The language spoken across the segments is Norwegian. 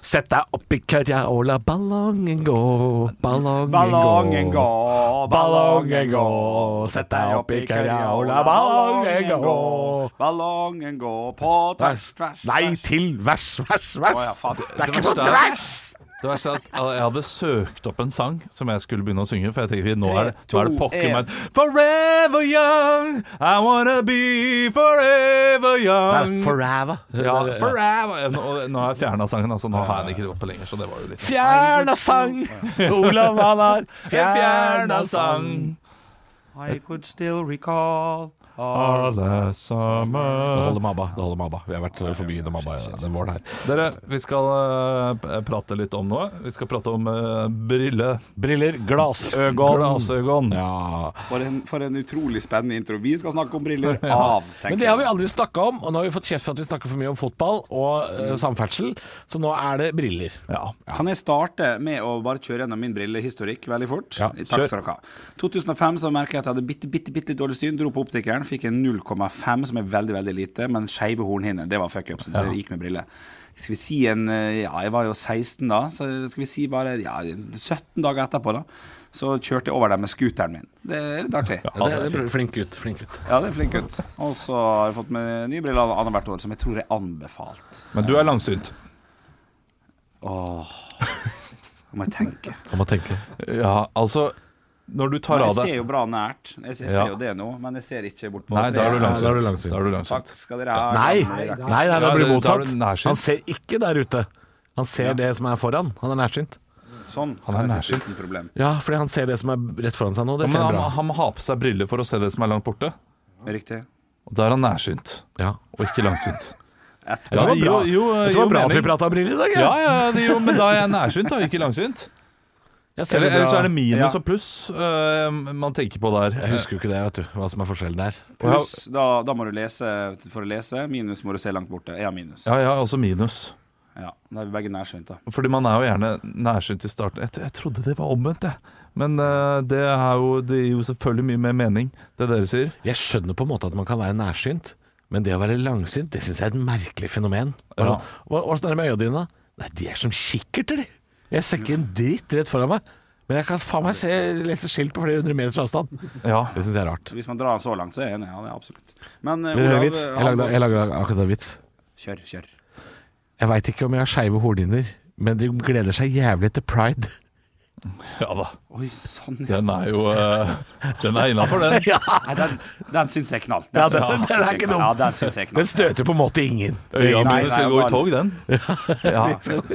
Sett deg opp i kørja og la ballongen gå, ballongen, Ballongen gå, ballongen gå. Sett deg opp i kørja og la ballongen gå. Ballongen gå på tvers, tvers, Nei, tvers. til vers, vers, vers. Å, ja, faen. det er Det ikke på verste er- tvers! Det verste er at jeg hadde søkt opp en sang som jeg skulle begynne å synge, for jeg tenkte nå er det, Tre, nå er det to, pokker en. meg Forever young, I wanna be forever young. Nei, Forever. ja, forever. Nå, nå har jeg fjerna sangen, altså. Nå har jeg den ikke oppe lenger, så det var jo litt Fjerna sang, Olav Vallar. Fjerna sang. I could still recall all Alle Det sammen holder med ABBA. Det holder med ABBA. Vi har vært for mye innom ABBA i den våren her. Dere, vi skal eh, p- prate litt om noe. Vi skal prate om uh, brille. Briller, glassøgon. Glasøgon. Ja. for en, for en utrolig spennende intro. Vi skal snakke om briller av, tenker Men det har vi aldri snakka om, og nå har vi fått kjeft for at vi snakker for mye om fotball og eh, samferdsel, så nå er det briller. Ja. Kan jeg starte med å bare kjøre gjennom min brillehistorikk veldig fort? Ja, Takk skal dere ha. 2005 så merket jeg at jeg hadde bitte, bitte, bitte litt dårlig syn. Dro på optikeren, fikk en 0,5, som er veldig, veldig lite, men skeive hornhinner. Det var fuck-upsen, så jeg gikk med briller. Skal vi si en eh, Ja, jeg var jo 16 da, så skal vi si bare ja, 17 dager etterpå, da. Så kjørte jeg over dem med scooteren min. Det er litt artig. Ja, det, det, flink gutt. Flink gutt. Ja, det er flink gutt. Og så har jeg fått med nye briller annethvert år, som jeg tror er anbefalt. Men du er langsynt. Åh, nå må jeg tenke. Han må tenke. Ja, altså Når du tar Men av jeg deg ser jo bra nært. Jeg, jeg ser Ja. jo det nå, men jeg ser ikke bort på Nei, da er du treet. langt. da langsynt. er du langsynt. Da er du langsynt. Takk skal dere ha. Nei, nei, gamle rakker. nei, det blir Ja, det- da er motsatt. du nærsynt. Han ser ikke der ute. Han ser det som er foran. Han er nærsynt. Sånn. Han er kan jeg sitte nærsynt. Uten problem. Ja, fordi han ser det som er rett foran seg nå. Det Ja, ser men han, han bra. han må ha på seg briller for å se det som er langt borte. Riktig. Og Da er han nærsynt, Ja. og ikke langsynt. Etterpå. Ja, Det var det bra, gir jo- jo, jeg tror det var gir bra jo at vi mening. prata om briller i dag. jeg. Ja, ja, det, jo, men da er jeg nærsynt, da, ikke langsynt. Jeg ser Eller, det eller så bra. er det minus Ja. og pluss øh, man tenker på der. Jeg husker jo ikke det, vet du. Hva som er forskjellen der. Pluss, da, da må du lese for å lese. Minus må du se langt borte. Jeg har minus. Ja, ja, også minus. Ja, Da er vi begge nærsynt, da. Fordi man er jo gjerne nærsynt i starten. Jeg, jeg trodde det var omvendt, jeg. Men øh, det, er jo, det gir jo selvfølgelig mye mer mening, det dere sier. Jeg skjønner på en måte at man kan være nærsynt, men det å være langsynt, det syns jeg er et merkelig fenomen. Ja. Hva- hva- Åssen er det med øya dine? Nei, de er som kikkerter, de. Jeg ser ikke en dritt rett foran meg. Men jeg kan faen meg se, lese skilt på flere hundre meters avstand. Ja. Det syns jeg er rart. Hvis man drar den så langt, så er jeg enig. Ja, det er absolutt. Men eh, Vil du høre Olav, en vits? Jeg han- lagde, jeg lagde akkurat en vits. Kjør, kjør. Jeg veit ikke om jeg har skeive hornhinner, men de gleder seg jævlig til pride. ja da. Oi, sånn. ja. Den er jo øh, Den er innafor, den. Nei, den den syns jeg er knall. Ja, syns den- jeg den er ikke dum. Ja, den syns jeg er knall. Den støter på en måte ingen. Øya Nei, mine skal nei, bare- gå i tog,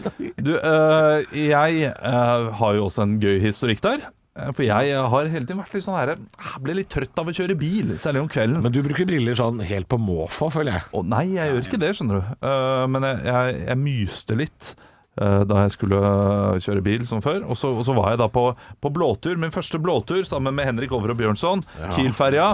den. Ja. Du, øh, jeg øh, har jo også en gøy historikk der. Eh, For jeg øh, har hele tiden vært litt sånn herre Jeg ble litt trøtt av å kjøre bil, særlig om kvelden. Men du bruker briller sånn helt på måfå, føler jeg. Å, nei, jeg gjør ikke det, skjønner du. Eh, men jeg, jeg, jeg myste litt eh, da jeg skulle eh, kjøre bil som før. Og så, og så var jeg da på, på blåtur, min første blåtur sammen med Henrik Over og Bjørnson. Kiel-ferja.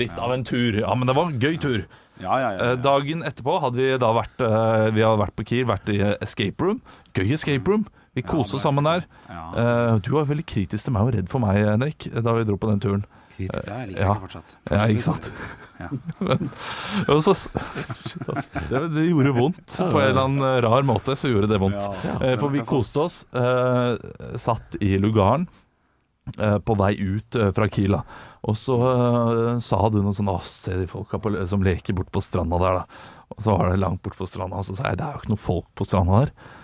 Litt av en tur. Ja, men det var en gøy tur. Ja, ja, ja. Eh, dagen etterpå hadde vi da vært, eh, vi hadde vært på Kiel, vært i eh, escape room. Gøy escape room. Vi koste oss sammen der. Eh, du var veldig kritisk til meg og redd for meg, Henrik, da vi dro på den turen. Kritisk. Ja, jeg liker ja. det fortsatt. Ja, ikke sant? Ja. Men, og så, shit, altså, det, det gjorde vondt. På en eller annen rar måte så gjorde det vondt. Ja. Eh, For vi koste oss, eh, satt i lugaren eh, på vei ut eh, fra Kila. Og så eh, sa du noe sånn Å, se de folka på, som leker bort på stranda der, da. Og så var det langt bort på stranda, og så sa jeg det er jo ikke noe folk på stranda der. Eh,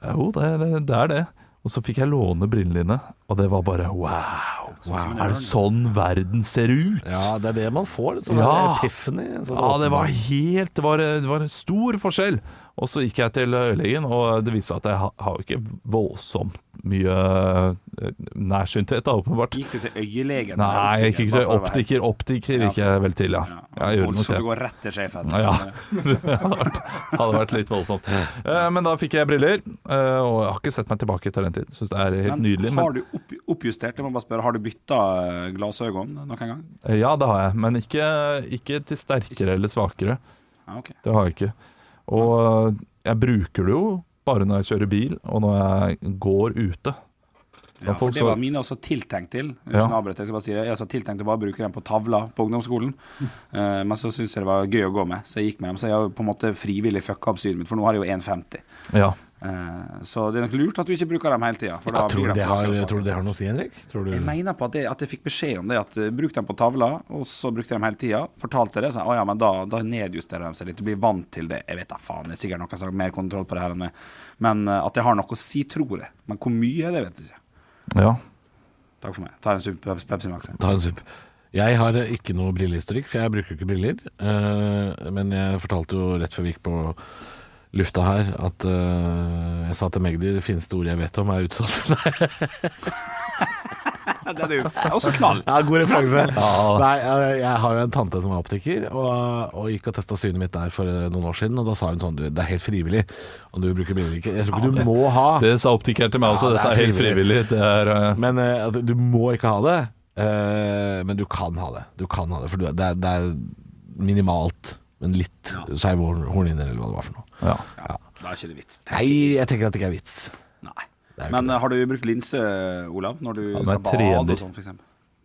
Jo, det, det, det er det. Og så fikk jeg låne brillene dine, og det var bare wow. wow. Er det sånn verden ser ut? Ja, det er det man får. Sånn Ja. epiphany. en sånn Ja, det var åpenbaring. helt det var, det var en stor forskjell. Og så gikk jeg til øyelegen, og det viste seg at jeg ha- har jo ikke voldsomt mye eh, nærsynthet, da, åpenbart. Gikk du til øyelegen? Nei, jeg gikk ikke til Bare for å være helt- optiker. Optiker gikk jeg vel til, ja. Jeg gjorde nok Olsen, det. du går rett til sjefen. liksom. Ja, det hadde vært, hadde vært litt voldsomt. Eh, Men da fikk jeg briller, eh, og jeg har ikke sett meg tilbake til den tiden. Syns det er helt Men nydelig. har Men, du opp, oppjustert, jeg må bare spørre, har du bytta glassøyne noen gang? Eh, ja, det har jeg, men ikke, ikke til sterkere eller svakere. Ja, ok. Det har jeg ikke. Og øh, jeg bruker det jo bare når jeg kjører bil, og når jeg går ute. Ja, for folk det så- var mine også tiltenkt til. Ja. Uten å avbryte, jeg skal bare si det. Jeg var tiltenkt til bare å bruke den på tavla på ungdomsskolen. Eh, men så syntes jeg det var gøy å gå med, så jeg gikk med dem. Så jeg har jo på en måte frivillig fucka opp synet mitt, for nå har jeg jo 1,50. Ja. Eh, Så det er nok lurt at du ikke bruker dem hele tida. Ja, tror, du det har, tror du det har noe å si, Henrik? Tror du... Mm. Jeg mener på at, det, at jeg fikk beskjed om det, at eh, bruk dem på tavla, og så brukte jeg dem hele tida. Fortalte det, så jeg, «Å ja, men da, da nedjusterer de seg litt. Du blir vant til det. Jeg vet da faen, det er sikkert noen som har mer kontroll på det her enn meg. Men eh, at jeg har noe å si, tror jeg. Men hvor mye, det vet jeg ikke. Ja. Takk for meg. Ta en sup Pep- Pepsi Max. jeg. Ta en sup. Jeg har eh, ikke noe brillehistorikk, for jeg bruker ikke briller. Eh, men jeg fortalte jo rett før vi gikk på lufta her, at eh, jeg sa til Magdi det fineste ordet jeg vet om, er utsolgt. Nei, Ja, det er det jo. Det er Også knall. ja, god referanse. Ja. Nei, eh, jeg har jo en tante som er optiker, og, og gikk og testa synet mitt der for eh, noen år siden. Og da sa hun sånn du, Det er helt frivillig om du bruker briller eller ikke. Jeg tror ikke Ja, det- du må ha Det sa optikeren til meg også. Ja, det er Dette er helt frivillig. Det er, eh, Men eh, at du må ikke ha det. eh, men du kan ha det. Du kan ha det, For du, det, er, det er minimalt, men litt skeiv horn- hornhinner, eller hva det var for noe. ja. Ja, da er ikke det vits. Nei, jeg tenker at det ikke er vits. Nei. Det er jo Men eh, har du brukt linse, Olav, når du men skal jeg bade og trener. sånn, f.eks.?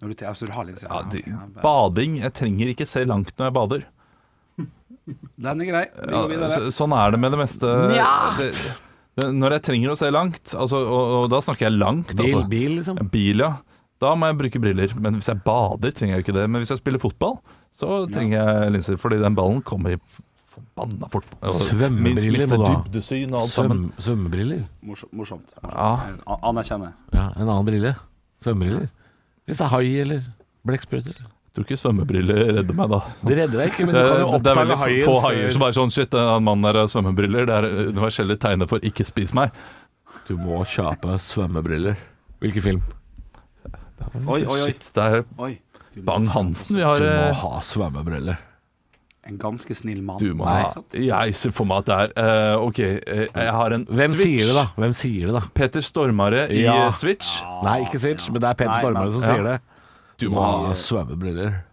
Når du, altså, du har linse? Ja, Ja, det, ok, ja. bading Jeg trenger ikke se langt når jeg bader. Den er grei. Vi Ja, går videre. så, sånn er det med det meste. Nja. Det, det, når jeg trenger å se langt, altså, og, og da snakker jeg langt, Bil, altså. bil liksom. Bil, ja. Da må jeg bruke briller. Men hvis jeg bader, trenger jeg jo ikke det. Men hvis jeg spiller fotball, så trenger jeg linser. Fordi den ballen kommer i forbanna fort. Svømmebriller må Minst- du ha. mister dybdesyn og alt sammen. Svøm, svømmebriller. Morsomt. morsomt. Ja. A- Anerkjenner. Ja, en annen brille. Svømmebriller. Hvis det er hai eller blekksprut. eller- Jeg tror ikke svømmebriller redder meg da. Eh, Det redder deg ikke, men du kan jo Det er, det er oppdage eh, veldig haien. få før- haier som er sånn Shit, den mannen der har svømmebriller. Det er universelle tegnet for 'ikke spis meg'. Du må kjøpe svømmebriller. Hvilken film? Oi, oi, oi. Shit, det er oi. Bang Hansen vi har. Du må eh, ha svømmebriller. En ganske snill mann. Du må Nei. ha Jeg ser for meg at det er eh, OK, eh, jeg har en Hvem Switch. sier det, da? Hvem sier det da? Petter Stormare i Ja. eh, Switch. Nei, ikke Switch, men det er Petter Nei, Stormare men- som ja. sier det. Du må må ha ha svømmebriller.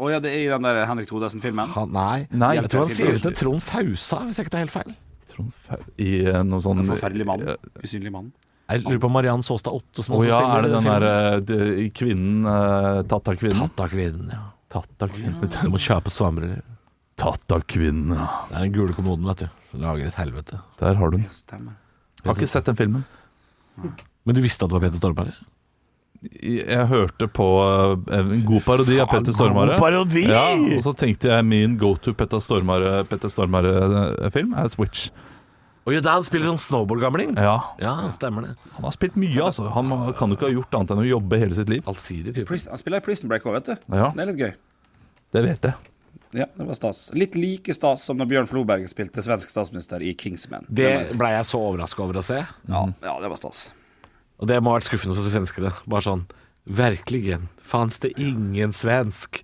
Å ja, det er i den der Henrik Thodesen-filmen. Han, nei. Nei, jeg tror han jeg sier tror det til Trond Fausa, hvis jeg ikke tar helt feil. Trond Fau i eh, noe sånn En forferdelig mann. Eh, Usynlig mann. Jeg lurer på Mariann Saastad Ottesen Å også ja, spiller er det i den filmen. der eh, de- kvinnen eh, Tattakvinnen? Tatt av kvinnen, ja. Du Tattakvinnen. må kjøpe svømmebriller. Tattakvinnen, ja. Det er den gule kommoden, vet du. Den Lager et helvete. Der har du den. Ja, Stemmer. Har ikke sett den filmen. Men du visste at det var Petter Stormare? Jeg hørte på eh, en god parodi av Petter Stormare. God parodi! Ja, og så tenkte jeg min go to Petter Stormare-film Petter Stormare eh, film er Switch. Og jo, da han spiller sånn snowboardgamling. Ja, Ja, stemmer det. Han har spilt mye, altså. Han må- kan jo ikke ha gjort annet enn å jobbe hele sitt liv. Allsidig type. Prison, han spiller i Prison Break òg, vet du. Ja, Det er litt gøy. Det vet jeg. Ja, det var stas. Litt like stas som når Bjørn Floberg spilte svensk statsminister i Kingsman. Det Mm. var- blei jeg så overraska over å se. ja, ja, det var stas. Og det må ha vært skuffende for svenskene. Bare sånn Virkeligen fantes det ingen svensk.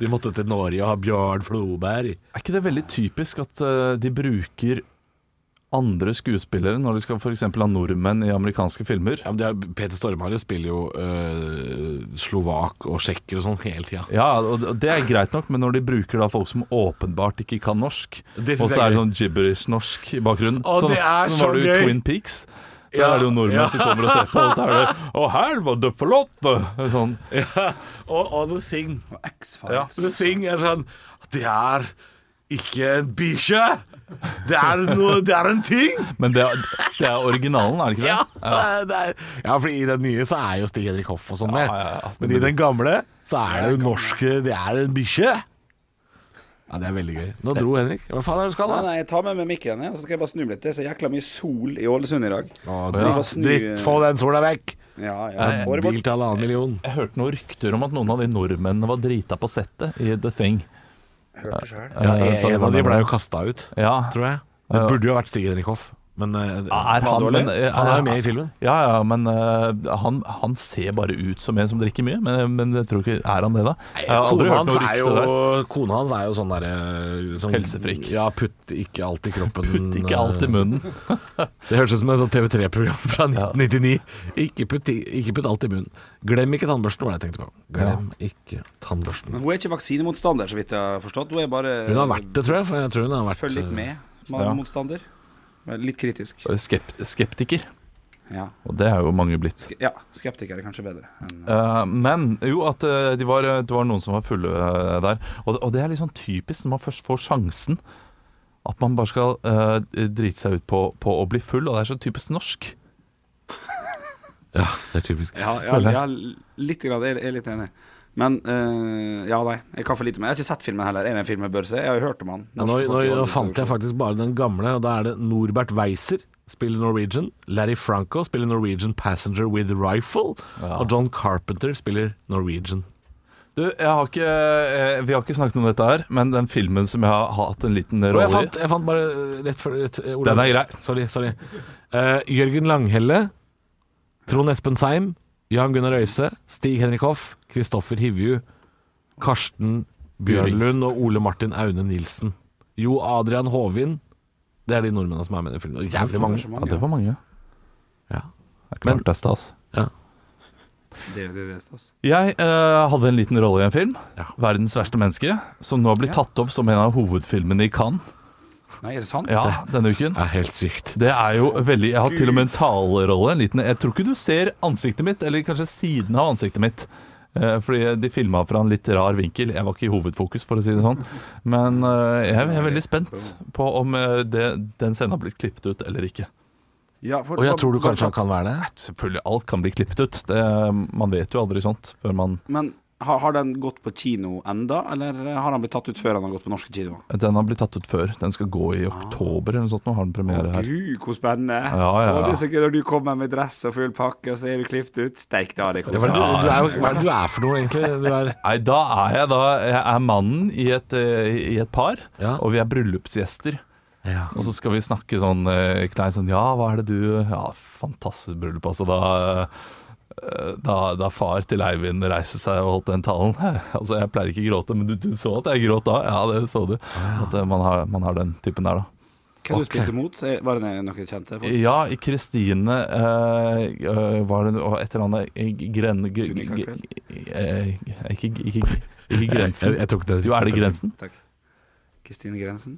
De måtte til Norge og ha Bjørn Floberg. Er ikke det veldig typisk at eh, de bruker andre skuespillere når de skal f.eks. ha nordmenn i amerikanske filmer? Ja, men det er, Peter Stormare spiller jo øh, slovak og tsjekker og sånn hele tida. Ja, og og det er greit nok, men når de bruker da folk som åpenbart ikke kan norsk, Det synes og jeg så er er det sånn gibberish-norsk i bakgrunnen Å, det er sånn så var det jo gøy. Twin Peaks. Der Ja, er det jo nordmenn ja. som kommer og ser på, og så er det 'Å, her var det flott!' Sånn. Og, og The Thing Og Ja. X-Files. The Thing er sånn Det er ikke en bikkje. Det er, noe, det er en ting. Men det er, det er originalen, er det ikke det? Ja, det er, det er. ja, for i den nye så er jo Stig Henrik Hoff og sånn med. Ja, ja, ja. Men i den gamle så er det jo norske Det er en bikkje. Ja, det er veldig gøy. Nå dro Henrik. Hva faen er det du skal, Nei, da? nei, jeg tar med meg mikken, jeg, og så skal jeg bare snu meg litt. Det er så jækla mye sol i Ålesund i dag. Å, Ja. dritt, dritt, få den sola vekk. Ja, ja. Får det Bil bort. til halvannen million. Jeg hørte noen rykter om at noen av de nordmennene var drita på settet i The Thing. Hørte sjøl. Ja, Eh, en av de ble jo kasta ut. ja. tror jeg. Det Ja. burde jo vært Stig Henrik Hoff, men eh, Er han, dårlig? men, eh, han er jo med i filmen. Ja, ja, men eh, han, han ser bare ut som en som drikker mye. Men, men jeg tror ikke Er han det, da? Jeg har Kona aldri hørt hans, noe er rykte jo, der. kona hans er jo sånn derre sånn, Helsefrik. Ja, putt ikke alt i kroppen. Putt ikke alt i munnen. Det høres ut som et sånt TV3-program fra 1999. Ikke, putt, i- ikke putt alt i munnen. Glem ikke tannbørsten, var det jeg tenkte på. Glem ikke tannbørsten. Men hun er ikke vaksinemotstander, så vidt jeg har forstått. Hun er bare Hun har vært det, tror jeg. For jeg tror hun har vært Følg litt med, man Ja. er motstander. Men Litt kritisk. Skep skeptiker. Ja. Og det er jo mange blitt. Ske- ja. Skeptiker er kanskje bedre. enn- Eh, men jo, at eh, de var, det var noen som var fulle eh, der. Og, det- og det er litt sånn typisk når man først får sjansen. At man bare skal eh, drite seg ut på, på å bli full, og det er så typisk norsk. eh, Ja, det er typisk. Ja, ja, Føler jeg. ja litt grann, jeg er- jeg er litt enig. Men eh, ja, nei. Jeg kan for lite om den. Jeg har ikke sett filmen heller. Er det en film jeg bør se? Jeg har jo hørt om han. Ja, nå, nå, nå fant jeg faktisk bare den gamle, og da er det Norbert Weiser spiller Norwegian, Larry Franco spiller Norwegian Passenger with Rifle, og John Carpenter spiller Norwegian. Du, jeg har ikke, eh, vi har ikke snakket om dette her, men den filmen som jeg har hatt en liten Og rolle jeg i fant, jeg fant bare eh, rett før rett, eh, Olav. Den er grei. Sorry. sorry. Eh, Jørgen Langhelle, Trond Espen Seim, Jan Gunnar Øyse, Stig Henrik Hoff, Kristoffer Hivju, Karsten Bjørnlund og Ole Martin Aune Nilsen. Jo Adrian Håvin. Det er de nordmennene som er med i den filmen. Og Jævlig mange. Ja, det var mange. Ja. Det er klart det er stas. Ja. Det, det, det, stas. Jeg eh, hadde en liten rolle i en film, Ja. 'Verdens verste menneske', som nå blir Ja. tatt opp som en av hovedfilmene i Cannes Nei, er det sant? ja, denne uken. Det er helt sykt. Det er jo veldig Jeg har til og med en talerolle. En liten, jeg tror ikke du ser ansiktet mitt, eller kanskje siden av ansiktet mitt. Eh, Fordi de filma fra en litt rar vinkel. Jeg var ikke i hovedfokus, for å si det sånn. Men eh, jeg er veldig spent på om eh, det, den scenen har blitt klippet ut eller ikke. Ja, for- Og jeg tror du kanskje han kan være det. Selvfølgelig, alt kan bli klippet ut. Det, man vet jo aldri sånt før man Men har, har den gått på kino enda, eller eh, har han blitt tatt ut før han har gått på norske kinoer? Den har blitt tatt ut før. Den skal gå i oktober eller noe sånt. Nå har den premiere her. Gud, hvor spennende! Ja, ja, ja. Å, det er så gøy når du kommer med dress og full pakke, og så er du klippet ut. Steik, da. Det Ja, er hva er koselig. det du, du er, jo- hva er det du er for noe, egentlig? Du er, Nei, da er jeg da Jeg er mannen i et, eh, i et par, Ja. og vi er bryllupsgjester. ja. Og så skal vi snakke sånn eh, klein sånn Ja, hva er det du Ja, fantastisk bryllup, altså. Da, eh, da, da far til Eivind reiste seg og holdt den talen Altså, jeg pleier ikke å gråte, men du, du så at jeg gråt da? Ja, det så du. At eh, man har, man har den typen der, da. Hva du spilte mot? Eh, Var det noen kjente? folk? Ja, i Kristine eh, eh, Var det noe- et eller annet eh, gren... g- Tunika g- kveld? eh, Ikke, ikke, ikke Jeg, grensen. jeg tok den. Jo, er det grensen? Takk. Kristine Grensen?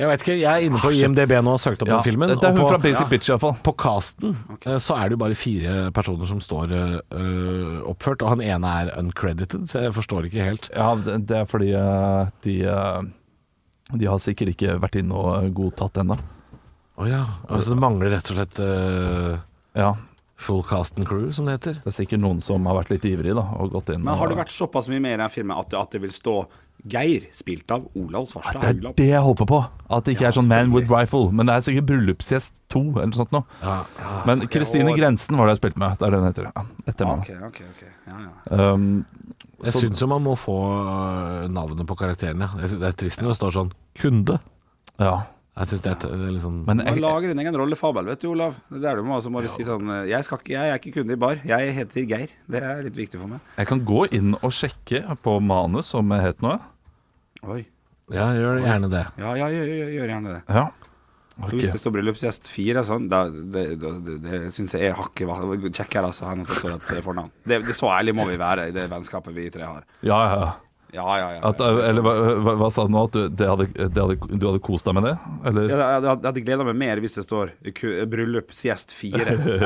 Jeg vet ikke, jeg er inne på IMDb nå og søkte opp den filmen. det er og hun på- fra Basic Bitch, iallfall. På casten eh, så er det jo bare fire personer som står eh, oppført, og han ene er uncredited, så jeg forstår ikke helt. Ja, det, det er fordi eh, de eh, De har sikkert ikke vært inne og eh, godtatt ennå. Å ja. Altså, det mangler rett og slett eh, Ja, full cast and crew, som det heter. det er sikkert noen som har vært litt ivrig da, og gått inn. Men har og- det vært såpass mye mer i den filmen at, det- at det vil stå Geir, spilt av Olav Svarstad Det er Haugland? det jeg håper på. At det ikke Ja, er sånn Man with selvfølgelig. Rifle. Men det er sikkert Bryllupsgjest 2 eller noe sånt nå. Ja. Ah, Men Kristine og- Grensen var det jeg spilte med. Det er det hun heter. Ja, etter Ja, meg. ok, ok, Ah, ok. Ja, ja. Um, Jeg så- syns jo man må få eh, navnet på karakterene. Jeg synes Det er trist når det står sånn 'kunde'. ja. Jeg syns det, er- det er litt sånn Men Man jeg, lager din egen rollefabel, vet du, Olav. Det er der du må, altså, må du si sånn eh, jeg, skal ikke, jeg er ikke kunde i bar, jeg heter Geir. Det er litt viktig for meg. jeg kan gå inn og sjekke på manus om jeg het noe. Oi. Ja, gjør gjerne det. Ja, ja, gjør, gjør, gjør gjerne det. Ja. For Hvis det står bryllupsgjest fire, sånn, da, det, det, det, det syns jeg er hakket va- kjekkere altså, enn at det står et fornavn. Det, det Så ærlig må vi være i det vennskapet vi tre har. ja, ja, ja. Ja, ja, ja. At, eller hva, hva, hva sa du nå? At du, det hadde, det hadde, du hadde kost deg med det? Eller? Jeg jeg- jeg hadde gleda meg mer hvis det står ku- 'bryllupsgjest fire' enn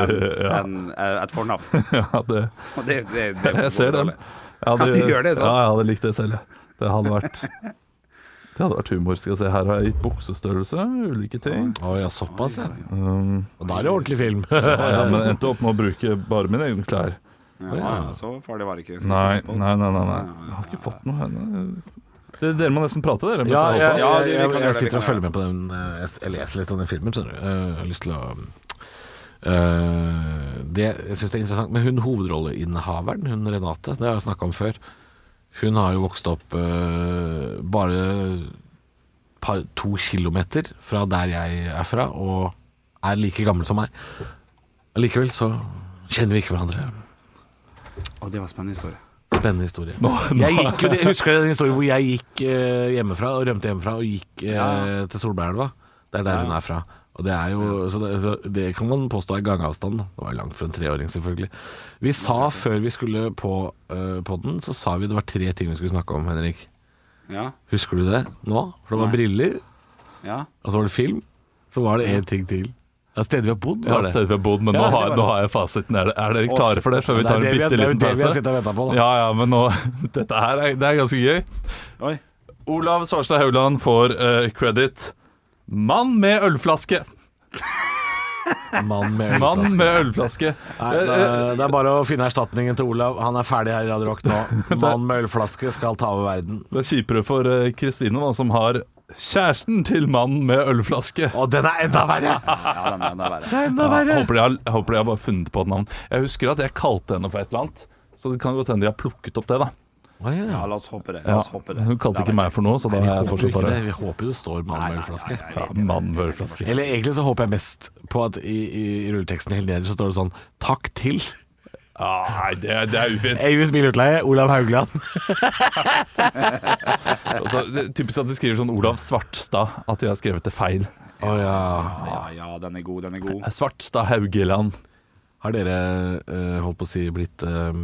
enn, eh, et fornavn. Ja, det, Og det, det, det, jeg ser den. Ja, Ja, de gjør det, sant? Ja, jeg hadde likt det selv. jeg. Det hadde vært Det hadde vært humor. Skal jeg se, her har jeg gitt buksestørrelse, ulike ting. Å ja, såpass, ja. Um, Og da er det ordentlig film. ja, men jeg endte opp med å bruke bare mine egne klær. Ja, så farlig var det ikke. Skal Nei, vi se på. nei, nei. nei, nei. Jeg har ikke fått noe henne. Det, dere må nesten prate, dere. mens Ja, jeg holder jeg, på. Ja, jeg, du, vi jeg, kan jeg, gjøre det, vi sitter kan og følger med på den. eh, Jeg s- jeg leser litt om den filmen, skjønner du. Eh, Jeg har lyst til å eh, det, Jeg syns det er interessant. Men hun hovedrolleinnehaveren, hun Renate, det har jeg snakka om før. Hun har jo vokst opp eh, bare par, to kilometer fra der jeg er fra, og er like gammel som meg. Allikevel så kjenner vi ikke hverandre. Å, det var spennende historie. Spennende historie. Jeg gikk jo, jeg husker en historie hvor jeg gikk eh, hjemmefra og rømte hjemmefra og gikk eh, til Solbergelva. Det er der hun er fra. Og det er jo, så det, så det kan man påstå er gangavstand. da. Det var jo langt for en treåring, selvfølgelig. Vi sa før vi skulle på uh, podden, så sa vi det var tre ting vi skulle snakke om, Henrik. Ja, Husker du det nå? For det var Nei. briller, ja. og så var det film. Så var det én ting til. Ja, stedet vi har bodd, Ja, var det. stedet vi har bodd, men Ja, nå, det har, var nå det. har jeg fasiten. Er, er dere klare for det før vi Det er tar det vi en har- bitte det er jo liten det vi har pause? sittet og ventet på, da. Ja, ja, men nå Dette her er, det er ganske gøy. Oi. Olav Svarstad Haugland får eh, credit Mann med ølflaske! Mann med Mann ølflaske. med ølflaske. Nei, det, er, det er bare å finne erstatningen til Olav. Han er ferdig her i Radio Rock nå. Mann med ølflaske skal ta over verden. Det er kjipere for eh, Kristine, da, som har kjæresten til mannen med ølflaske. Og den er enda verre! Ja, den, den er verre. Det er Ja, enda jeg verre. håper de har, jeg håper de har bare funnet på et navn. Jeg husker at jeg kalte henne for et eller annet, så det kan godt hende de har plukket opp det, da. Å, ja. Ja, la oss håpe det. La oss håpe det. Hun kalte ikke meg for noe, så Vi da er jeg håper jo fortsatt ikke bare det. Vi håper jo det står mann med ølflaske. ja, mann med ølflaske. Eller egentlig så håper jeg mest på at i, i, i rulleteksten helt nederst så står det sånn Takk til Ja, nei, det, er- det er ufint. Eivis Bilutleie, Olav Haugland. Altså, det, typisk at de skriver sånn Olav Svartstad, at de har skrevet det feil. Å ja. Ja, ja, den er god, den er god. Svartstad Haugeland. Har dere, eh, holdt på å si, blitt eh,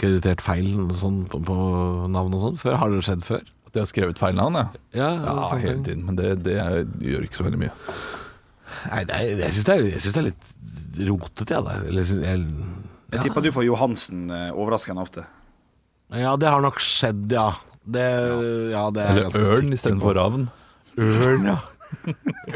kreditert feil og sånn på, på navn og sånn før? Har det skjedd før? At de har skrevet feil navn, ja. Ja, Ja, sånne ting. hele tiden. Men det, det er, gjør ikke så veldig mye. Nei, det er, jeg syns det, er- jeg synes det er litt rotete, jeg. da. Eller, synes- jeg Jeg tipper du får Johansen eh, overraskende ofte. ja, det har nok skjedd, ja. Det, ja, det er jeg Eller ganske Ørn sikker istedenfor på. Ravn. Ørn, ja.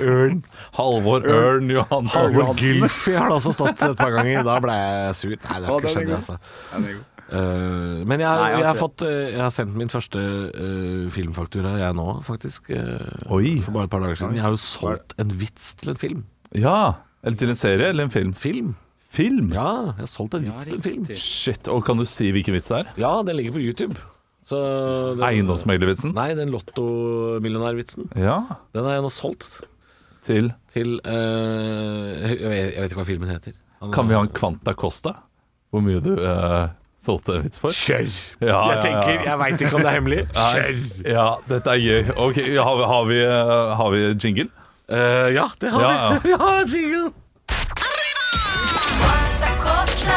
Ørn. Halvor Ørn Johansson. Halvor Gylfi har det også stått et par ganger. Da ble jeg sur. Nei, det har ikke Å, den er skjedd, god. altså. Den er god. Eh, men jeg, jeg, Nei, jeg har har ikke fått, eh, jeg har sendt min første eh, filmfaktura, jeg nå, faktisk. eh, Oi. For bare et par dager siden. Jeg har jo solgt en vits til en film. Ja. Eller til en serie eller en film. Film? Film? Ja, jeg har solgt en vits til en film. Shit. Og kan du si hvilken vits det er? Ja, den ligger på YouTube. Så den- Eiendomsmeglervitsen? Nei, den lottomillionærvitsen. Ja. Den har jeg nå solgt Til til eh, jeg, vet, jeg vet ikke hva filmen heter. Han- Kan vi ha en Kvanta Costa? Hvor mye du eh, solgte en vits for? Kjør! Ja, jeg ja, ja. tenker, jeg veit ikke om det er hemmelig. Kjør! Ja, dette er gøy. Ok, Har vi, har vi, eh, har vi jingle? Eh, ja, det har Ja, ja. vi. Vi har jingle. Quanta Costa,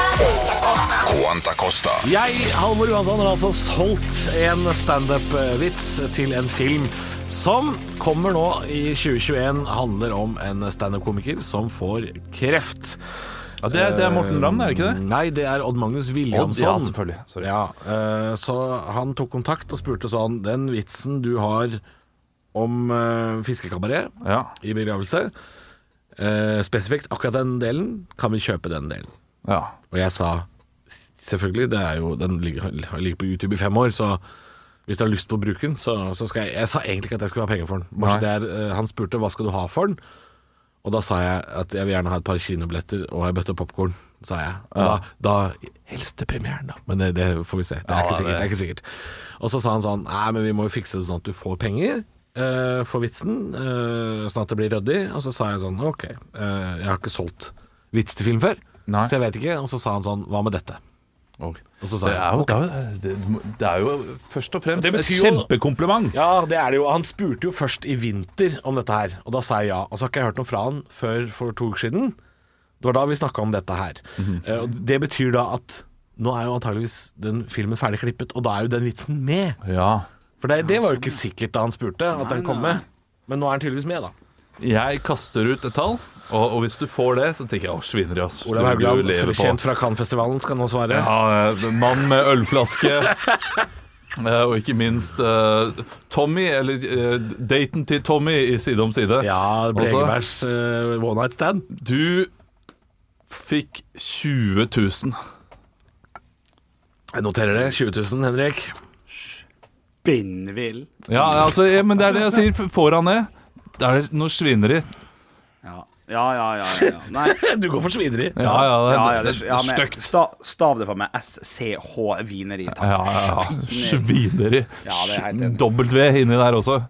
Quanta Costa. Jeg, Halvor Johansson, har altså solgt en standup-vits til en film som kommer nå i 2021. Handler om en standup-komiker som får kreft. Eh, Ja, det, er- det er Morten Ramm, er det ikke det? Nei, det er Odd Magnus Williamson. ja, selvfølgelig. Sorry. Ja, eh, så han tok kontakt og spurte sånn Den vitsen du har om eh, fiskekabaret Ja. i begravelse, eh, spesifikt akkurat den delen, kan vi kjøpe den delen? ja. Og jeg sa Selvfølgelig, det er jo, den ligger, har ligget på YouTube i fem år, så hvis dere har lyst på å bruke den, så, så skal jeg Jeg sa egentlig ikke at jeg skulle ha penger for den. Bare så det er, eh, han spurte hva skal du ha for den, og da sa jeg at jeg vil gjerne ha et par kinobilletter og ei bøtte popkorn, sa jeg. Og da, da Helst til premieren, da. Men det, det får vi se. Det er, ikke sikkert, det er ikke sikkert. Og så sa han sånn Nei, men vi må jo fikse det sånn at du får penger. eh, for vitsen, eh, sånn at det blir ryddig. Og så sa jeg sånn Ok, eh, jeg har ikke solgt vits til film før, Nei. så jeg vet ikke. Og så sa han sånn Hva med dette? Og så sa Det, jeg er jo, det, er, jo- det, det er jo først og fremst Det et betyr jo- kjempekompliment. Ja, det er det jo. Han spurte jo først i vinter om dette her, og da sa jeg ja. Og så har ikke jeg hørt noe fra han før for to uker siden. Det var da vi snakka om dette her. Eh, Og det betyr da at nå er jo antageligvis den filmen ferdig klippet, og da er jo den vitsen med. Ja. For det, det var jo ikke sikkert da han spurte at den kom med. Men nå er den tydeligvis med, da. Jeg kaster ut et tall, og, og hvis du får det, så tenker jeg å, svineri, ass. Olav Du- du Haugland, lever på- kjent fra Cannes-festivalen, skal nå svare. Ja, eh, mann med ølflaske. Eh, Og ikke minst eh, Tommy, eller eh, daten til Tommy i Side om side. Ja, Også- Blegebergs eh, one night stand. Du fikk 20 000. Jeg noterer det. 20 000, Henrik. Spinnvill. Ja, altså, eh, men det er det jeg sier. f- Får han det? Det er noe svineri. Ja. Ja, ja, ja, ja, ja. Nei. Du går for svineri. Ja, ja, Ja, det, ja, det, det- ja, det er med, stygt. sta, stav det for meg. SCH Vineri. Takk. Ja, ja, ja. Svineri. Ja, det er helt enig. W inni der også.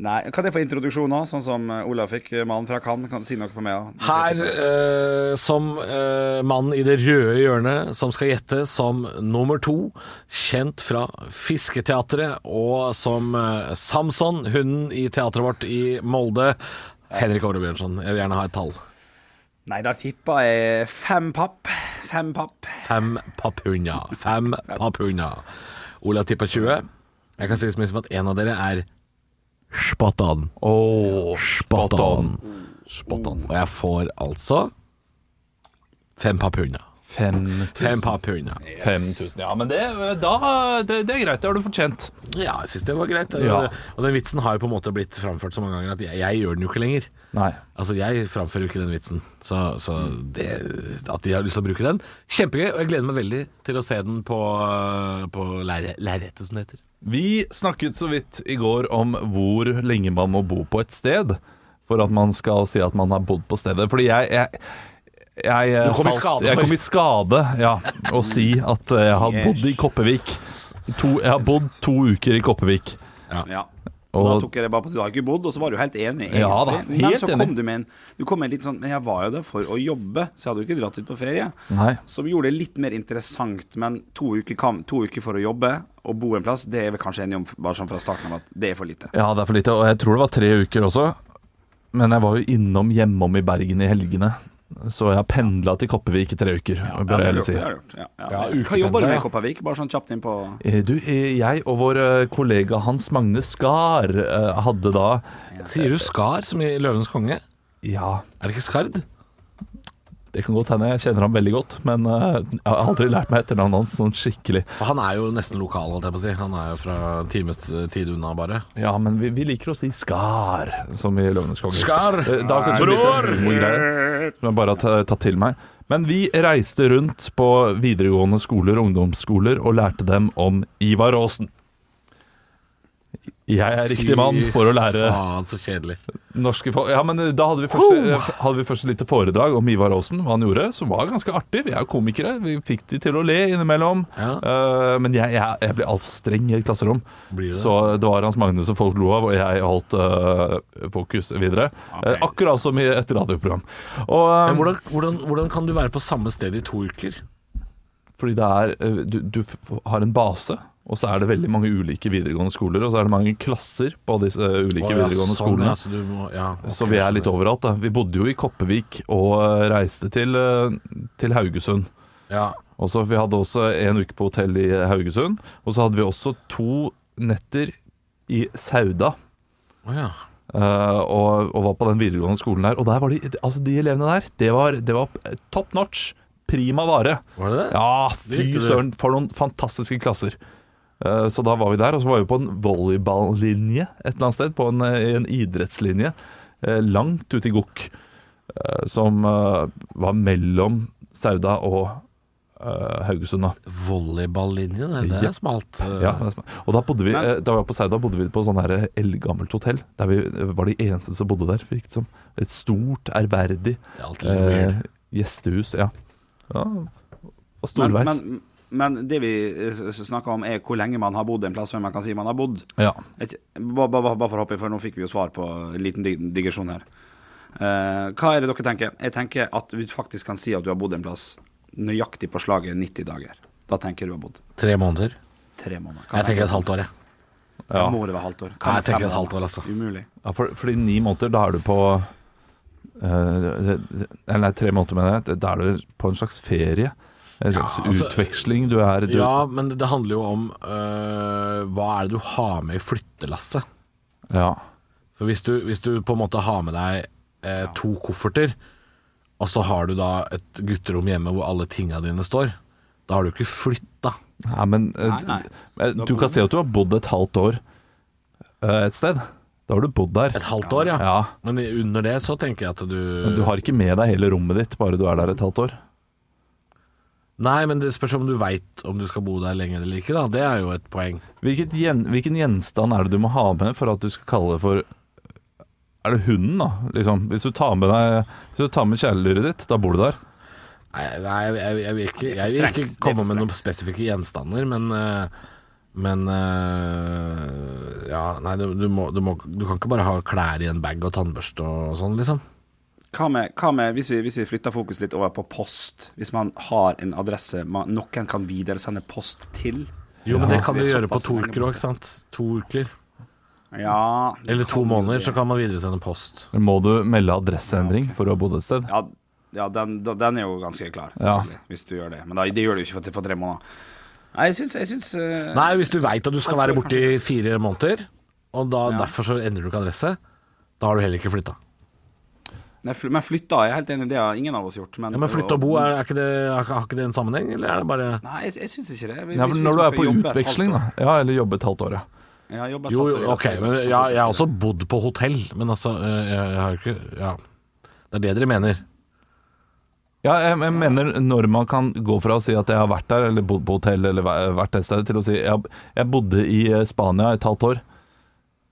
Nei, Kan jeg få introduksjon òg, sånn som eh, Olav fikk? eh, Mannen fra Cannes kan si noe på meg òg. Her, eh, som eh, mannen i det røde hjørnet som skal gjette som nummer to, kjent fra Fisketeatret og som eh, Samson, hunden i teatret vårt i Molde. Henrik Åre Bjørnson, jeg vil gjerne ha et tall. Nei, da tippa jeg fem papp. Fem papp. Fem papphunder. Fem papphunder. Olav tippa 20. Jeg kan si så mye som at en av dere er Spatan. Oh, Spatan. Og jeg får altså fem papphunder. 5000. Fem par pund, ja. 5000. Ja, men det, da, det, det er greit. Det har du fortjent. Ja, jeg syns det var greit. Ja. Og den vitsen har jo på en måte blitt framført så mange ganger at jeg, jeg gjør den jo ikke lenger. Nei. Altså, jeg framfører jo ikke den vitsen, så, så det, at de har lyst til å bruke den Kjempegøy, og jeg gleder meg veldig til å se den på, på lerre- lerretet, som det heter. Vi snakket så vidt i går om hvor lenge man må bo på et sted for at man skal si at man har bodd på stedet. Fordi jeg, jeg jeg, eh, Du kom i skade jeg for- kom i skade ja, å si at eh, jeg har bodd i Koppevik. To, jeg har bodd to uker i Koppevik. Ja. Og da Og tok jeg det bare på så du har ikke bodd, og så var du helt enig. egentlig. Ja da, men helt så enig. kom du med en Du kom med en litt sånn Men jeg var jo der for å jobbe, så jeg hadde jo ikke dratt ut på ferie. Nei. Som gjorde det litt mer interessant, men to uker, kan, to uker for å jobbe og bo en plass, det er vi kanskje enige om bare sånn fra starten av at det er for lite. Ja, det er for lite. Og jeg tror det var tre uker også. Men jeg var jo innom hjemom i Bergen i helgene. Så jeg har pendla til Koppevik i tre uker. bør det jeg har du heller gjort, si. det har du gjort. Ja, ja. Ja, Hva jobber du ukependler, med ja. i Kopervik? Bare sånn kjapt inn på Eh, Du, eh, jeg og vår eh, kollega Hans Magne Skar eh, hadde da Sier du Skar, som i Løvens konge? Ja, Er det ikke Skard? det kan godt hende jeg kjenner ham veldig godt, men eh, jeg har aldri lært meg etternavnet hans sånn skikkelig. For han er jo nesten lokal, holdt jeg på å si. Han er jo fra en times tid unna, bare. Ja, men vi, vi liker å si Skar, som i Løvenes konge. Skar! Eh, Da kanskje Bror! litt humorgreier, som jeg bare har ta- tatt til meg. Men vi reiste rundt på videregående skoler og ungdomsskoler og lærte dem om Ivar Aasen. Jeg er riktig mann for å lære Faen, så kjedelig. norske folk Ja, men eh, da hadde vi først, hadde vi først et lite foredrag om Ivar Aasen, hva han gjorde, som var ganske artig. Vi er jo komikere, vi fikk de til å le innimellom. Eh, men jeg, jeg, jeg ble altfor streng i et klasserom. Blir det? Så det var Hans Magne som folk lo av, og jeg holdt eh, fokus videre. Eh, akkurat som i et radioprogram. Og, eh, Men hvordan, hvordan, hvordan kan du være på samme sted i to uker? Fordi det er eh, du, du f- har en base, og så er det veldig mange ulike videregående skoler, og så er det mange klasser på disse eh, ulike Å, ja, videregående sånn, skolene. ja, så du må, ja, ok, Så vi er litt skjønner. overalt, da. Vi bodde jo i Koppevik og eh, reiste til, eh, til Haugesund. Ja. Og så Vi hadde også en uke på hotell i Haugesund. Og så hadde vi også to netter i Sauda. Å, ja. eh, og, og var på den videregående skolen der. Og der var de, altså de elevene der, det var, det var top notch. Prima vare. Var det det? Ja, Det fy likte du. søren, for noen fantastiske klasser. Eh, Så da var vi der, og så var vi på en volleyballinje et eller annet sted. På en, eh, en idrettslinje eh, langt ute i Gokk. eh, Som eh, var mellom Sauda og eh, Haugesund, da. Volleyballinjen, det, det Ja. er smalt. Eh, Ja, det er smart. og da bodde vi Men- eh, Da vi var på Sauda, bodde vi på sånn her eldgammelt hotell. Der vi eh, var de eneste som bodde der, virket det som. Et stort, ærverdig Det er alltid litt eh, weird. gjestehus. Ja. ja. Og men, storveis. men, men det vi eh, s- s- snakker om, er hvor lenge man har bodd en plass, hvem man kan si man har bodd. ja. Et- Bare bare- bare for å hoppe inn, for nå fikk vi jo svar på en liten dig- digresjon her. Eh, hva er det dere tenker? Jeg tenker at du faktisk kan si at du har bodd en plass nøyaktig på slaget 90 dager. Da tenker du har bodd Tre måneder? tre måneder. Hva Jeg tenker et halvt år, jeg. Ja. Må det være halvt år? Kan Nei, jeg det være tenker et fem halvt år, altså. Umulig. Ja, for, fordi ni måneder, da er du på eh, Eller nei, tre måneder, mener jeg. Da er du på en slags ferie. En slags altså, utveksling. Du er du, Ja, men det handler jo om øh, hva er det du har med i flyttelasset. ja. For hvis du, hvis du på en måte har med deg eh, to kofferter, og så har du da et gutterom hjemme hvor alle tinga dine står, da har du ikke flytta. Nei, men eh, Nei, nei. eh, Du kan si at du har bodd et halvt år eh, et sted. Da har du bodd der. Et halvt år, ja. Ja. Men i- under det så tenker jeg at du, Men du har ikke med deg hele rommet ditt, bare du er der et halvt år. Nei, men det spørs om du veit om du skal bo der lenger eller ikke, da. Det er jo et poeng. Hvilket gjen, hvilken gjenstand er det du må ha med for at du skal kalle det for Er det hunden, da? Liksom, hvis du tar med deg Hvis du tar med kjæledyret ditt, da bor du der. Nei, nei jeg, jeg, jeg, vil ikke, er jeg for vil strengt. Det ikke er komme for med noen spesifikke gjenstander, men eh, men eh, ja, nei, du, du, må, du, må, du kan ikke bare ha klær i en bag og tannbørste og sånn, liksom. Hva med, hva med hvis, vi, hvis vi flytter fokus litt over på post? Hvis man har en adresse man, noen kan videresende post til? Jo, men det kan Det du er gjøre på såpass to lenge uker òg, ikke sant. To uker. Ja det Eller to kan måneder, det. så kan man videresende post. Må du melde adresseendring for å ha bodd et sted? Ja, ja den, da- den er jo ganske klar, Ja. selvfølgelig, hvis du gjør det. Men da, det gjør du ikke for, for tre måneder. Nei, jeg syns, jeg syns eh, Nei, hvis du veit at du skal være borte i fire måneder, og da, derfor så endrer du ikke adresse, da har du heller ikke flytta. Nei, fly, men flytta, jeg er helt enig, det har ingen av oss gjort. Men, Ja, men flytte og bo, er, er ikke det, har ikke- har ikke det en sammenheng, eller er det bare Nei, jeg, jeg syns ikke det. Hvis- Ja, for hvis når du man er skal på jobbe et halvt utveksling, da. år. Ja, eller jobbe et halvt år, ja. Ja, jobbe et Jo, halvt år i jo, Las ok, Vegas, men så- jeg, jeg altså. har også bodd på hotell, men altså eh, Jeg, jeg har jo ikke Ja. Det er det dere mener. Ja, jeg, jeg mener når man kan gå fra å si at jeg har vært der, eller bodd på hotell, eller væ- vært et sted, til å si jeg, jeg bodde i eh, Spania et halvt år.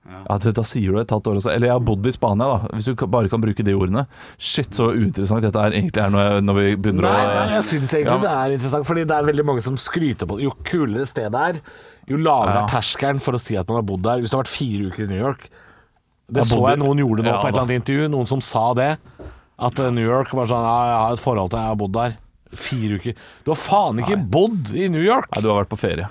Ja, da- Da sier du et halvt år også. Eller jeg har bodd i Spania, da. Hvis du ka- bare kan bruke de ordene. Shit, så uinteressant dette er egentlig er når, jeg, når vi begynner Nei, å nei, jeg syns egentlig Ja, men- det er interessant, Fordi det er veldig mange som skryter på det. Jo kulere stedet er, jo lavere Ja. er terskelen for å si at man har bodd der. Hvis du har vært fire uker i New York Det så Jeg bodde- jeg noen gjorde nå Ja, på et da. eller annet intervju, noen som sa det. At eh, New York bare sånn Ja, jeg har et forhold til jeg har bodd der. Fire uker Du har faen ikke bodd i New York! Nei, du har vært på ferie.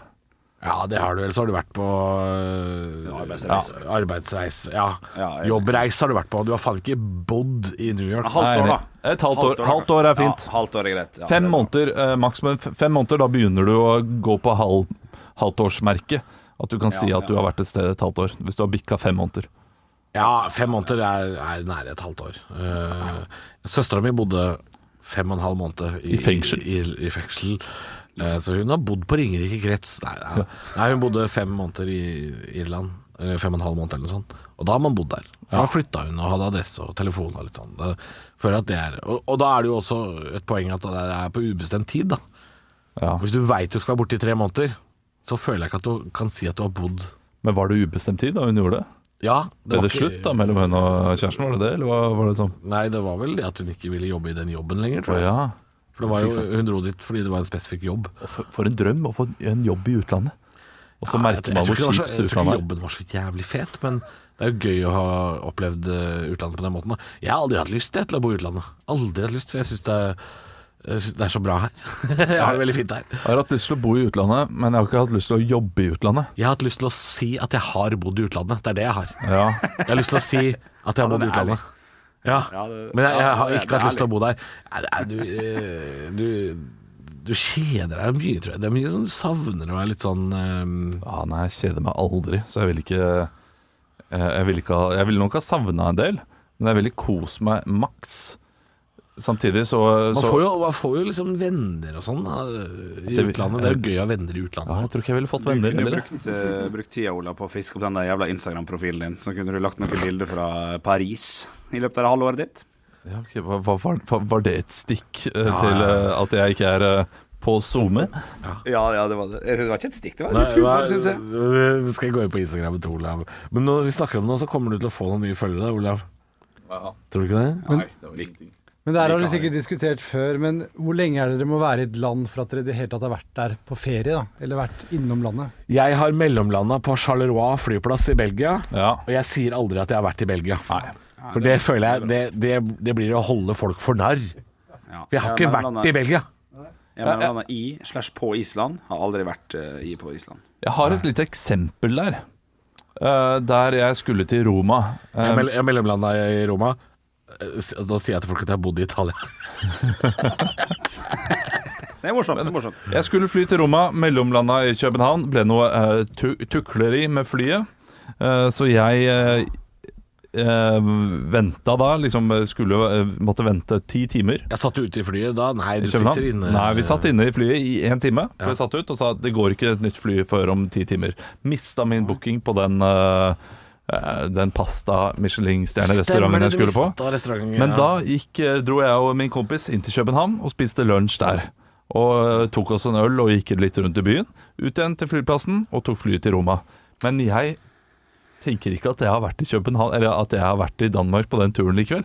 Ja, det har du vel. Så har du vært på øh, Arbeidsreise. Ja, arbeidsreis, ja. Ja, jeg- Jobbreis har du vært på. Du har faen ikke bodd i New York. Halvt år, Nei, da. det- et halvt år- halvt år er fint. Ja, halvt år er greit. Ja, det Fem er bra. måneder, eh, maksimum f- fem måneder, da begynner du å gå på halv, halvtårsmerket. At du kan si Ja, at ja. du har vært et sted et halvt år, hvis du har bikka fem måneder. Ja, fem måneder er, er nære et halvt år. Uh, Søstera mi bodde fem og en halv måned i, I fengsel. I, i fengsel. Eh, så hun har bodd på Ringerike krets. Nei, nei, nei, hun bodde fem måneder i Irland. Eller fem og en halv måned eller noe sånt. Og da har man bodd der. For Da flytta hun og hadde adresse og telefon og litt sånn. Det- Før at det er og, og da er det jo også et poeng at det er på ubestemt tid, da. Ja. Hvis du veit du skal være borte i tre måneder, så føler jeg ikke at du kan si at du har bodd Men var det ubestemt tid da hun gjorde det? Ja, Ble var det ikke- slutt da mellom henne og kjæresten, var det det? Eller hva var det sånn? Nei, det var vel det at hun ikke ville jobbe i den jobben lenger, Å tror jeg. ja. For det var jo, Hun dro dit fordi det var en spesifikk jobb. Og For, for en drøm å få en jobb i utlandet. Og så Ja, jeg- merker man jeg tror ikke hvor det var så- kjipt Jeg tror ikke utlandet er. jobben var så jævlig fet, men det er jo gøy å ha opplevd eh, utlandet på den måten. da. Jeg har aldri hatt lyst jeg, til å bo i utlandet. Aldri hatt lyst, for jeg syns det, er- jeg synes det er så bra her. Jeg har det veldig fint her. Jeg har hatt lyst til å bo i utlandet, men jeg har ikke hatt lyst til å jobbe i utlandet. Jeg har hatt lyst til å si at jeg har bodd i utlandet. Det er det jeg har. Ja, Jeg har lyst til å si at jeg har bodd i det er ærlig. utlandet. Ja, Ja, det- men jeg, ja, jeg har det er- ikke det er hatt lyst til å bo der. Nei, det er- Du, eh, du, du kjeder deg mye, tror jeg. Det er mye som du savner å være litt sånn eh, ja Ah, nei, jeg kjeder meg aldri, så jeg vil ikke eh, Jeg vil, ikke ha, jeg vil nok ha savna en del, men jeg vil ikke kose meg maks. Samtidig så, man, så får jo, man får jo liksom venner og sånn da, i Det- utlandet. Det er jo gøy å ha venner i ja, Jeg utlandet. tror ikke jeg ville fått Du venner kunne heller. jeg. brukt, eh, brukt tida, Ola, på å friske opp den der jævla Instagram-profilen din. Så kunne du lagt noen bilder fra eh, Paris i løpet av det halvåret ditt. Ja, ok, hva, hva, var- hva, var det et stikk eh, Ja, til ja, ja. eh, at jeg ikke er eh, på SoMe? Ja, ja, det var det. Det var ikke et stikk, det var Nei, litt hva- humor, syns jeg. det skal jeg gå inn på Instagram til Olav. Men når vi snakker om det, nå, så kommer du til å få noen nye følgere, Olav. Tror du ikke det? Men det her har dere sikkert diskutert før, men hvor lenge er det dere må være i et land for at dere i det hele tatt har vært der på ferie, da? Eller vært innom landet? Jeg har mellomlanda på Charleroi flyplass i Belgia. Ja. Og jeg sier aldri at jeg har vært i Belgia. For det føler jeg det, det, det blir å holde folk for narr. Ja. For jeg har ikke vært i Belgia. Jeg mener landet i slash på Island. Har aldri vært eh, i på Island. Jeg har et lite eksempel der. Eh, der jeg skulle til Roma. Eh, Jeg mell- jeg mellomlanda i Roma. Eh, s- Da sier jeg til folk at jeg har bodd i Italia. Det er morsomt. det er morsomt jeg skulle fly til Roma, mellomlanda i København. Ble noe eh, tu tukleri med flyet. Eh, så jeg eh, eh, venta da, liksom eh, skulle eh, Måtte vente ti timer. Jeg satt ute i flyet da. Nei, du i København. sitter inne. Nei, vi satt inne i flyet i én time. Ja. Vi satt ut og sa at det går ikke et nytt fly før om ti timer. Mista min booking på den, eh, eh, den pasta Stemmer Michelin-stjernerestauranten det, jeg du skulle på. mistet restauranten, Men ja. da gikk, eh, dro jeg og min kompis inn til København og spiste lunsj der. Og eh, tok oss en øl og gikk litt rundt i byen. Ut igjen til flyplassen og tok flyet til Roma. Men jeg tenker ikke at jeg har vært i København Eller at jeg har vært i Danmark på den turen likevel.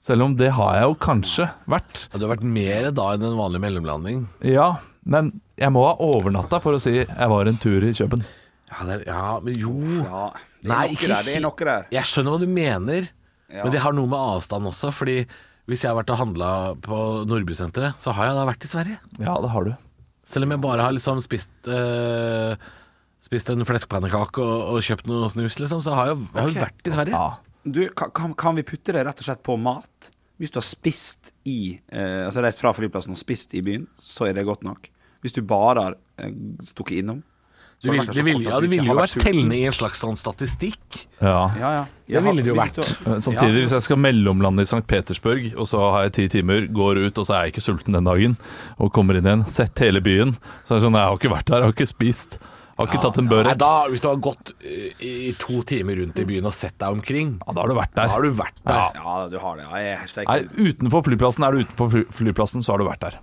Selv om det har jeg jo kanskje vært. Ja, Du har vært mer da enn en vanlig mellomlanding. Ja, men jeg må ha overnatta for å si jeg var en tur i Køben. Ja, det er, ja men jo Ja, det er Nei, noe ikke der. Det er noe der. Jeg skjønner hva du mener, Ja. men det har noe med avstand også. Fordi hvis jeg har vært og handla på Nordbysenteret, så har jeg da vært i Sverige. Ja, det har du. Selv om jeg bare har liksom spist eh, Spist en fleskpannekake og, og kjøpt noe snus, liksom, så har jeg jeg har jo vært i Sverige. Ja. Du, ka- kan, kan vi putte det rett og slett på mat? Hvis du har spist i eh, Altså reist fra flyplassen og spist i byen, så er det godt nok. Hvis du bare har eh, stukket innom, Det ville det ville- ja, det ville jo vært tellende i en slags sånn statistikk. Ja. Ja, ja. Det ville det jo eh, Hvis du- Men Eh, Samtidig, hvis jeg skal mellomlande i St. Petersburg, og så har jeg ti timer, går ut, og så er jeg ikke sulten den dagen, og kommer inn igjen, sett hele byen, så er det sånn Jeg har ikke vært der, jeg har ikke spist, jeg har ikke tatt en Nei, børre. da, hvis du har gått eh, i to timer rundt i byen og sett deg omkring, Ja, da har du vært da har der. du vært der. Ja, Ja, du har det. Ja, jeg hashtag Nei, utenfor flyplassen, er du utenfor fly flyplassen, så har du vært der.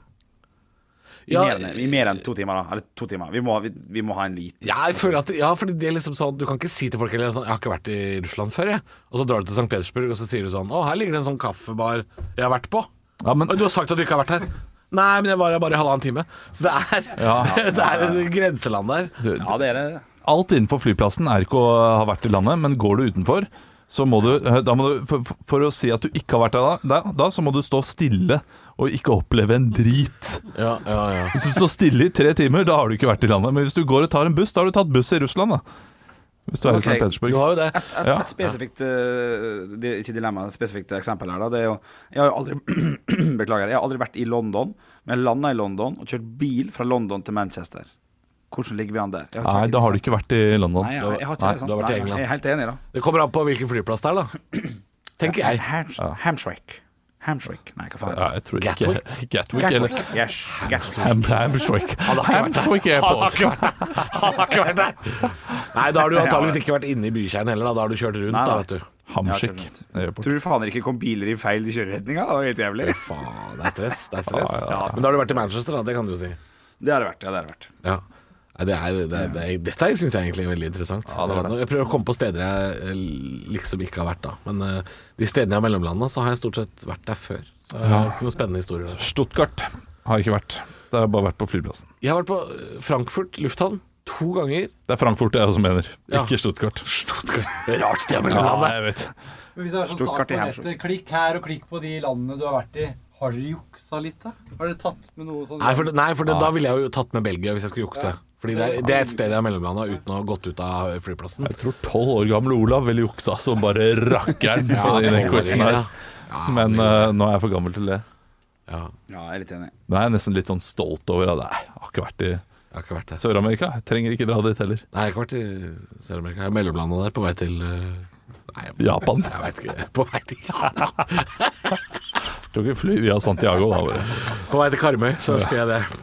I, mer enn, I mer enn to timer, da. Eller to timer. Vi må, ha- vi, vi må ha en liten eh, Ja, jeg føler at, ja, fordi det er liksom sånn Du kan ikke si til folk eller sånn, 'Jeg har ikke vært i Russland før, jeg.' Og så drar du til St. Petersburg, og så sier du sånn 'Å, her ligger det en sånn kaffebar jeg har vært på.' Ja, men Og du har sagt at du ikke har vært her. Nei, men jeg var her bare i halvannen time. Så det er, Ja. det er et grenseland der. du, Ja, det er det. alt innenfor flyplassen er ikke å ha vært i landet, men går du utenfor, så må du, eh, da må du for, for å si at du ikke har vært der da, da, så må du stå stille og ikke oppleve en drit. Ja, ja, ja. Hvis du står stille i tre timer, da har du ikke vært i landet. Men hvis du går og tar en buss, da har du tatt buss i Russland, da. Hvis du er Ok. i St. Petersburg. Du har jo det. Et, Ja. et spesifikt eh, det, Ikke dilemma, et spesifikt eksempel her. Da, det er jo, jeg har jo aldri Beklager. Jeg har aldri vært i London, men jeg landa i London og kjørt bil fra London til Manchester. Hvordan ligger vi an der? Jeg Nei, da har du ikke vært i London. Nei, jeg, jeg har ikke Nei, det, sant? du har vært i Nei, England. Jeg er helt enig, da. Det kommer an på hvilken flyplass det er, da. Tenker jeg. Hams, Hamshrek. Hamshrek. Nei, hva faen Ja, heter det? jeg tror ikke Gatwick? Gatwick eller Gatwick. Yes. Gatwick. Ham- Hamshwick. Han har ikke vært Hamshwick der. Han har Airport. ikke vært der. Han har ikke vært der. Nei, da har du antageligvis ikke vært inne i bykjernen heller, da. Da har du kjørt rundt, Nei, da, nei. vet du. Hamshwick Ja, Airport. Tror du faen ikke kom biler i feil kjøreretninga? Det var helt jævlig. Faen, det er stress. Det er stress. Ja, Men da har du vært i Manchester, da. Det kan du jo si. Det har det vært. Ja, det har det vært. Ja. Nei, det er, det er, det er, dette syns jeg egentlig er veldig interessant. Ja, det var det. Jeg prøver å komme på steder jeg eh, liksom ikke har vært da. Men eh, de stedene jeg har mellomlanda, så har jeg stort sett vært der før. Så jeg har ikke noen spennende historier der. Stuttgart har jeg ikke vært. Det har jeg bare vært på flyplassen. Jeg har vært på eh, Frankfurt lufthavn to ganger. Det er Frankfurt jeg også mener, Ja. ikke Stuttgart. Rart sted å Ja, mellomlande. jeg vet. Men hvis det er sånn Stuttgart sak på i Hamsun. nettet, klikk her og klikk på de landene du har vært i. Har dere juksa litt, da? Har dere tatt med noe sånn Nei, for, det- nei, for det, da ville jeg jo tatt med Belgia hvis jeg skulle jukse. Fordi det er, det er et sted jeg har mellomlanda uten å ha gått ut av flyplassen. Jeg tror tolv år gamle Olav ville juksa som bare rakkeren i den quizen her. tolvåringer, ja. Ja, Men det- eh, nå er jeg for gammel til det. ja, Ja, jeg er litt enig. Nå er jeg nesten litt sånn stolt over at jeg har ikke vært i Jeg har ikke vært der. Sør-Amerika. Jeg trenger ikke dra dit heller. Nei, jeg har ikke vært i Sør-Amerika. Jeg har mellomlanda der på vei til eh, Nei, jeg- Japan. Jeg veit ikke. På vei til Japan. Tok et fly via Santiago da. Bare. På vei til Karmøy, så skal jeg det.